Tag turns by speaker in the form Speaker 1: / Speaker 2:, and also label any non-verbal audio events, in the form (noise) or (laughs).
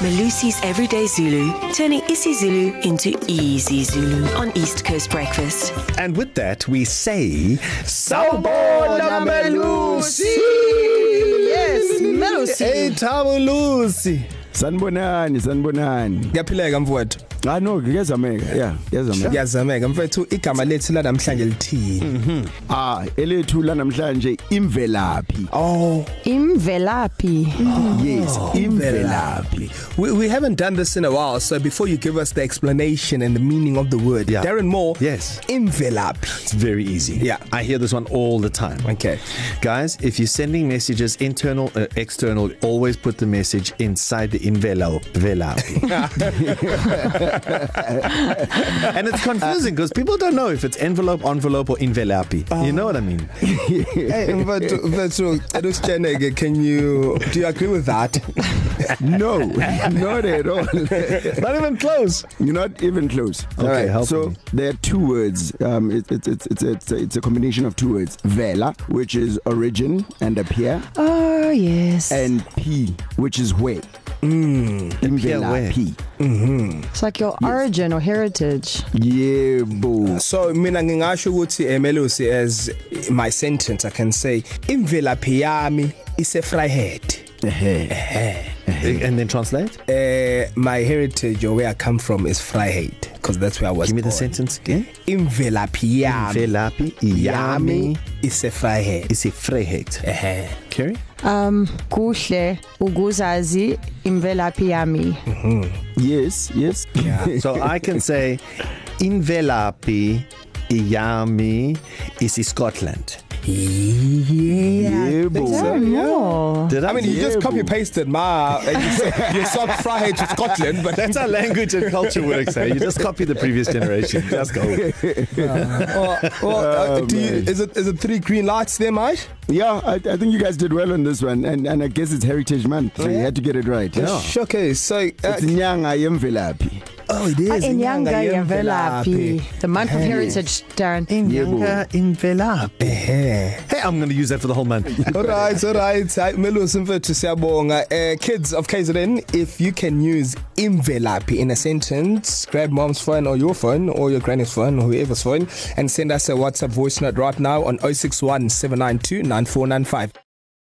Speaker 1: Malusi's Everyday Zulu, turning isiZulu into easy Zulu on East Coast Breakfast.
Speaker 2: And with that, we say, Sawubona Melusi!
Speaker 3: Yes, Melusi.
Speaker 2: Thabo Lusi.
Speaker 4: Sanibonani, sanibonani.
Speaker 2: Ngiyaphileka mfowethu.
Speaker 4: Ah no, ngiyazameka. Yeah, ngiyazameka.
Speaker 2: Ngiyazameka mfowethu igama lethu la namhlanje lithini?
Speaker 4: Ah, elethu la namhlanje imvelaphi.
Speaker 2: Oh,
Speaker 3: Imvelaphi.
Speaker 5: Oh,
Speaker 4: Yes, imvelaphi.
Speaker 2: We, we haven't done this in a while, so before you give us the explanation and the meaning of the word, yeah. Darren Moore,
Speaker 5: Yes.
Speaker 2: imvelaphi.
Speaker 5: It's very easy.
Speaker 2: Yeah.
Speaker 5: I hear this one all the time.
Speaker 2: Okay.
Speaker 5: Guys, if you're sending messages internal uh, external, always put the message inside the envelope.
Speaker 2: (laughs)
Speaker 5: Velapi. and it's confusing because people don't know if it's envelope, envelope, or envelapi. Oh. You know what I mean?
Speaker 2: (laughs) Hey, mfowethu, mfowethu, adusijeneke, can you do you agree with that? (laughs)
Speaker 4: No, not at all.
Speaker 5: (laughs) Not even close.
Speaker 4: You're not even close.
Speaker 5: Okay,
Speaker 4: Alright,
Speaker 5: help
Speaker 4: so
Speaker 5: me.
Speaker 4: there are two words. Um, it's it's it's it's it's a, it's a combination of two words. Vela, which is origin and appear,
Speaker 3: Oh, yes. And
Speaker 4: and p, which is where. Mm,
Speaker 5: where.
Speaker 4: imvelaphi.
Speaker 3: it's like your yes. origin or heritage.
Speaker 4: Yebo.
Speaker 2: So mina ngingasho ukuthi emelusi as my sentence I can say imvelaphi yami ise Fryhead.
Speaker 4: Ehe.
Speaker 5: And then translate.
Speaker 2: Uh, my heritage or where I come from is Fryhead because that's where I was
Speaker 5: Give me the
Speaker 2: born.
Speaker 5: sentence again.
Speaker 2: Imvelaphi yami
Speaker 5: Velapi.
Speaker 2: yami
Speaker 5: Yami.
Speaker 2: ise Fryhead.
Speaker 5: Is a frehet.
Speaker 2: Ehhe.
Speaker 5: Kerry?
Speaker 3: Um, kuhle ukuzazi imvelaphi yami.
Speaker 4: Yes, yes. Yeah.
Speaker 5: So I can say envelapi. Yami is in Scotland.
Speaker 4: (laughs) Yebo.
Speaker 3: No.
Speaker 5: Did
Speaker 2: I mean, you just
Speaker 4: Yebo.
Speaker 2: copy pasted my. And you said (laughs) you sub Fryhead to Scotland, but
Speaker 5: That's how language and culture works. Hey? You just copy the previous generation. Just go.
Speaker 2: or, or, uh,
Speaker 4: Oh,
Speaker 2: do you,
Speaker 4: man.
Speaker 2: is it is it three green lights there, mate?
Speaker 4: Yeah, I, I think you guys did well on this one, and, and I guess it's Heritage Month, so you had to get it right.
Speaker 5: Yeah.
Speaker 2: Okay, so uh,
Speaker 4: It's Nyanga Yemvelaphi.
Speaker 2: oh, it is. Inyanga
Speaker 3: Inyanga Ah,
Speaker 2: Eh,
Speaker 3: yemvelaphi. The month of
Speaker 2: Ehhe.
Speaker 3: heritage, Darren.
Speaker 4: Yebo.
Speaker 5: Envelape.
Speaker 2: Ehhe.
Speaker 5: Hey, I'm going to use that for the whole month.
Speaker 2: Alright, alright. Hayi Melusi mfethu siyabonga. Eh kids of KZN, if you can use imvelaphi in a sentence, grab mom's phone or your phone or your granny's phone or oh whoever's phone and send us a WhatsApp voice note right now on 061 792 9495.